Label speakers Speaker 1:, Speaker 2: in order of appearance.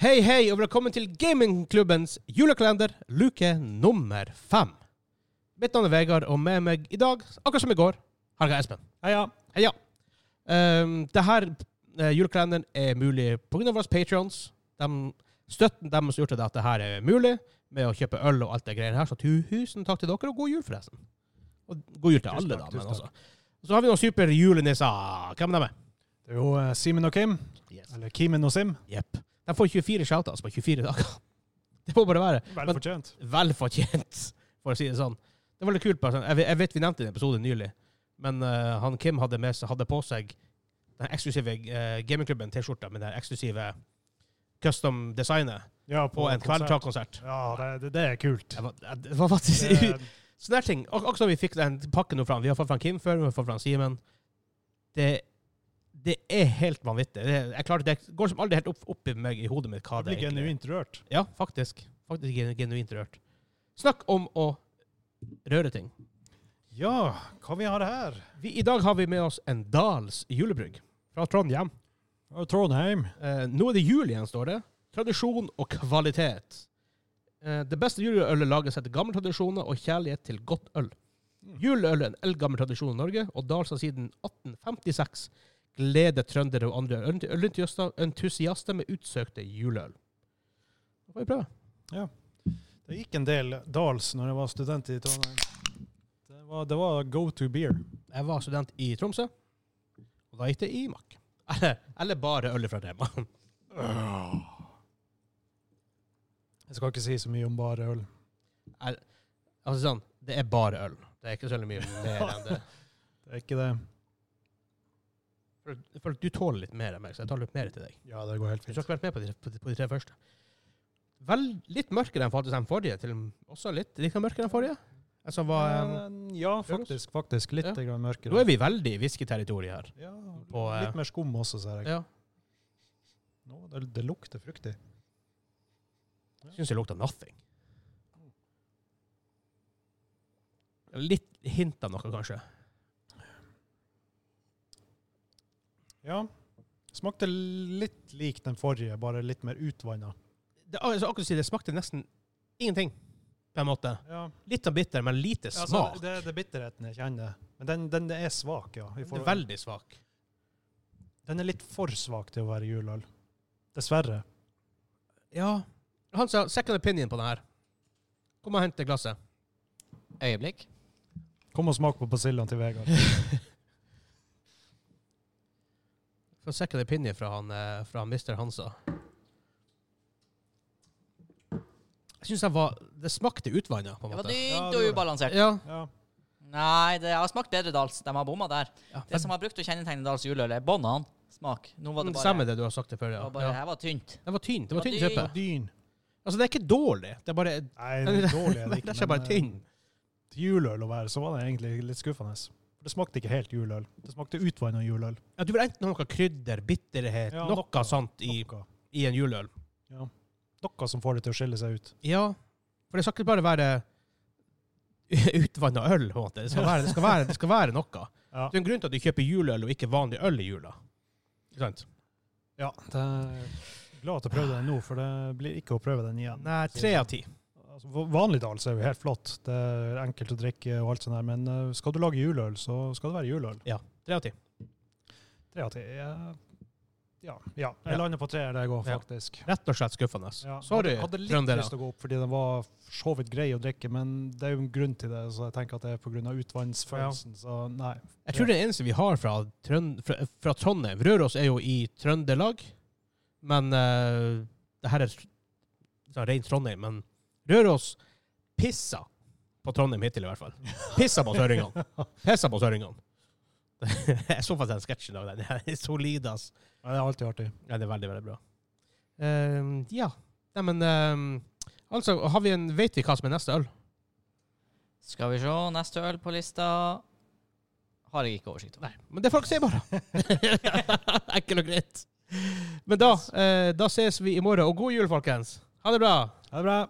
Speaker 1: Hei, hei, og velkommen til gamingklubbens julekalender, luke nummer fem. Mitt navn er Vegard, og med meg i dag, akkurat som i går, har jeg Espen.
Speaker 2: Heia.
Speaker 1: Heia. Um, Dette eh, julekalenderen er mulig pga. våre patrions. De, støtten deres har gjort det at det her er mulig, med å kjøpe øl og alt det greiene her. Så tusen takk til dere, og god jul, forresten. Og god jul til
Speaker 2: Tusen
Speaker 1: alle, da.
Speaker 2: takk,
Speaker 1: Men
Speaker 2: tusen takk.
Speaker 1: altså. Så har vi noen superjulenisser. Hvem er de?
Speaker 2: Det er jo eh, Simen og Kim.
Speaker 1: Yes.
Speaker 2: Eller Kimen og Sim.
Speaker 1: Jepp. De får 24 shoutouts på 24 dager. Det må bare være.
Speaker 2: Vel fortjent.
Speaker 1: velfortjent, for å si det sånn. Det var litt kult. bare sånn. Jeg, jeg vet vi nevnte en episode nylig, men eh, han Kim hadde, med, seg- hadde på seg den eksklusive eh, gamingklubben T-skjorta med det eksklusive custom designet
Speaker 2: Ja,
Speaker 1: på en
Speaker 2: konsert.
Speaker 1: kveldskonsert.
Speaker 2: Ja, det, det, det er kult.
Speaker 1: Det var, det var faktisk
Speaker 2: Det,
Speaker 1: Sånne her ting. Ak akkurat som vi fikk den pakken nå fram. Vi har fått fra Kim før, vi har fått fra Simen. Det, det er helt vanvittig. Det, jeg klarer, det går som aldri helt opp, opp i meg i hodet mitt hva
Speaker 2: det
Speaker 1: det
Speaker 2: blir
Speaker 1: egentlig er.
Speaker 2: genuint rørt.
Speaker 1: Ja, faktisk. Faktisk genu- genuint rørt. Snakk om å røre ting.
Speaker 2: Ja, hva vi har her?
Speaker 1: Vi, I dag har vi med oss en Dals julebrygg fra Trondheim.
Speaker 2: Og Trondheim.
Speaker 1: Eh, nå er det jul igjen, står det. Tradisjon og kvalitet. Eh, det beste juleølet lages etter gamle tradisjoner og kjærlighet til godt øl. Juleøl er en eldgammel tradisjon i Norge, og Dals har siden 1856 gledet trøndere og andre øl- ølentusiaster entusiaster med utsøkte juleøl. Da får vi prøve.
Speaker 2: Det gikk en del dals når jeg var student i Trondheim. Det var, det var go to beer.
Speaker 1: Jeg var student i Tromsø, og da gikk det i makk. Eller, eller bare øl fra Rema.
Speaker 2: Jeg skal ikke si så mye om bare øl.
Speaker 1: Altså sånn, det er bare øl. Det er ikke så veldig mye mer enn det.
Speaker 2: Det er ikke det.
Speaker 1: For, for du tåler litt mer enn meg, så jeg tar litt mer til deg.
Speaker 2: Ja, det går helt
Speaker 1: Du har
Speaker 2: fint.
Speaker 1: ikke vært med på de, på de, på de tre første. Vel, litt mørkere enn faktisk den forrige. Til, og med også litt like mørkere enn forrige. Altså, var, eh,
Speaker 2: Eh, Ja, faktisk. faktisk Litt
Speaker 1: Ja.
Speaker 2: grann mørkere.
Speaker 1: nå er vi veldig i whiskyterritoriet her.
Speaker 2: Ja,
Speaker 1: På, eh,
Speaker 2: litt mer skum også, ser jeg.
Speaker 1: Ja.
Speaker 2: Nå, det, det lukter fruktig.
Speaker 1: Syns jeg lukter nothing. Litt hint av noe, kanskje.
Speaker 2: Ja. Smakte litt lik den forrige, bare litt mer utvanna.
Speaker 1: Det, altså, akkurat si, det smakte nesten ingenting, på en måte.
Speaker 2: Ja, altså,
Speaker 1: Litt av bitter, men lite smak.
Speaker 2: det, det er bitterheten jeg kjenner. Men den, den er svak, ja.
Speaker 1: det
Speaker 2: i
Speaker 1: er
Speaker 2: forhold-
Speaker 1: veldig svak.
Speaker 2: Den er litt for svak til å være juleøl. Dessverre.
Speaker 1: Ja. Han sa second opinion på den her. Kom og hent det glasset.
Speaker 3: Øyeblikk.
Speaker 2: Kom og smak på persillene til Vegard.
Speaker 1: Få second opinion fra han, eh, fra Mr. Hansa. Jeg syns den var Det smakte utvanna, på en
Speaker 3: Det var
Speaker 1: måte.
Speaker 2: Ja, det
Speaker 3: dynt og
Speaker 2: var det.
Speaker 3: ubalansert.
Speaker 1: Ja.
Speaker 2: Ja.
Speaker 3: Nei, det har smakt bedre Dals. De har bomma der.
Speaker 1: ja.
Speaker 3: Det som har brukt å kjennetegne Dals juleøl, er båndene. Smak. Nå var det bare,
Speaker 1: Stemmer Mm, det du har sagt det før,
Speaker 3: det
Speaker 1: ja.
Speaker 3: var bare
Speaker 1: ja.
Speaker 3: Her var tynt.
Speaker 1: Det var tynn. Det var
Speaker 3: Det
Speaker 1: tynn
Speaker 3: var
Speaker 1: suppe.
Speaker 2: Dyn.
Speaker 1: Altså, det er ikke dårlig. Det er bare
Speaker 2: Nei, den er dårlig er det
Speaker 1: Det
Speaker 2: ikke.
Speaker 1: er bare
Speaker 2: men, eh,
Speaker 1: tynn.
Speaker 2: Til juleøl å være, så var det egentlig litt skuffende. For det smakte ikke helt juleøl. Det smakte utvanna juleøl.
Speaker 1: Ja, du vil enten ha noe krydder, bitterhet,
Speaker 2: Ja,
Speaker 1: noe,
Speaker 2: noe.
Speaker 1: sånt i,
Speaker 2: Noe.
Speaker 1: i en juleøl.
Speaker 2: Noe som får det til å skille seg ut.
Speaker 1: Ja, for det skal ikke bare være utvanna øl. på en måte. Det skal være, det skal være, det skal være noe.
Speaker 2: Ja.
Speaker 1: Det er en grunn til at du kjøper juleøl og ikke vanlig øl i jula. Ikke sant?
Speaker 2: Ja, det er glad at jeg prøvde den nå, for det blir ikke å prøve den igjen.
Speaker 1: Nei, tre av ti.
Speaker 2: Altså, va- vanlig dals er jo helt flott. Det er enkelt å drikke og alt sånt der, men eh, skal du lage juleøl, så skal det være juleøl.
Speaker 1: Tre av ti.
Speaker 2: Tre av ti. eh, Ja. ja.
Speaker 1: Ja.
Speaker 2: Jeg lander på tre der jeg går,
Speaker 1: Ja.
Speaker 2: faktisk.
Speaker 1: Rett og slett skuffende.
Speaker 2: Ja.
Speaker 1: Sorry,
Speaker 2: Hadde, hadde litt
Speaker 1: trøndere.
Speaker 2: lyst til å gå opp fordi den var for så vidt grei å drikke, men det er jo en grunn til det, så jeg tenker at det er på grunn av utvannsfølelsen, så nei.
Speaker 1: Jeg tror det eneste vi har fra, Trønd fra, fra Trondheim Røros er jo i Trøndelag, men eh, det her er sånn rent Trondheim. Men Røros pissa på Trondheim hittil, i hvert fall. Pissa på søringene. Pissa på søringene. Jeg så faktisk en sketsj i dag. Den er solid, ass.
Speaker 2: Ja, det er alltid artig.
Speaker 1: Ja, det er veldig, veldig bra. Ehm, ja. Nei, men ehm, altså, har vi en, vet vi hva som er neste øl?
Speaker 3: Skal vi se. Neste øl på lista har jeg ikke oversikt over.
Speaker 1: Nei, men det får dere se, bare. Enkelt og greit. Men da, eh, da ses vi i morgen, og god jul, folkens. Ha det bra.
Speaker 2: Ha det bra.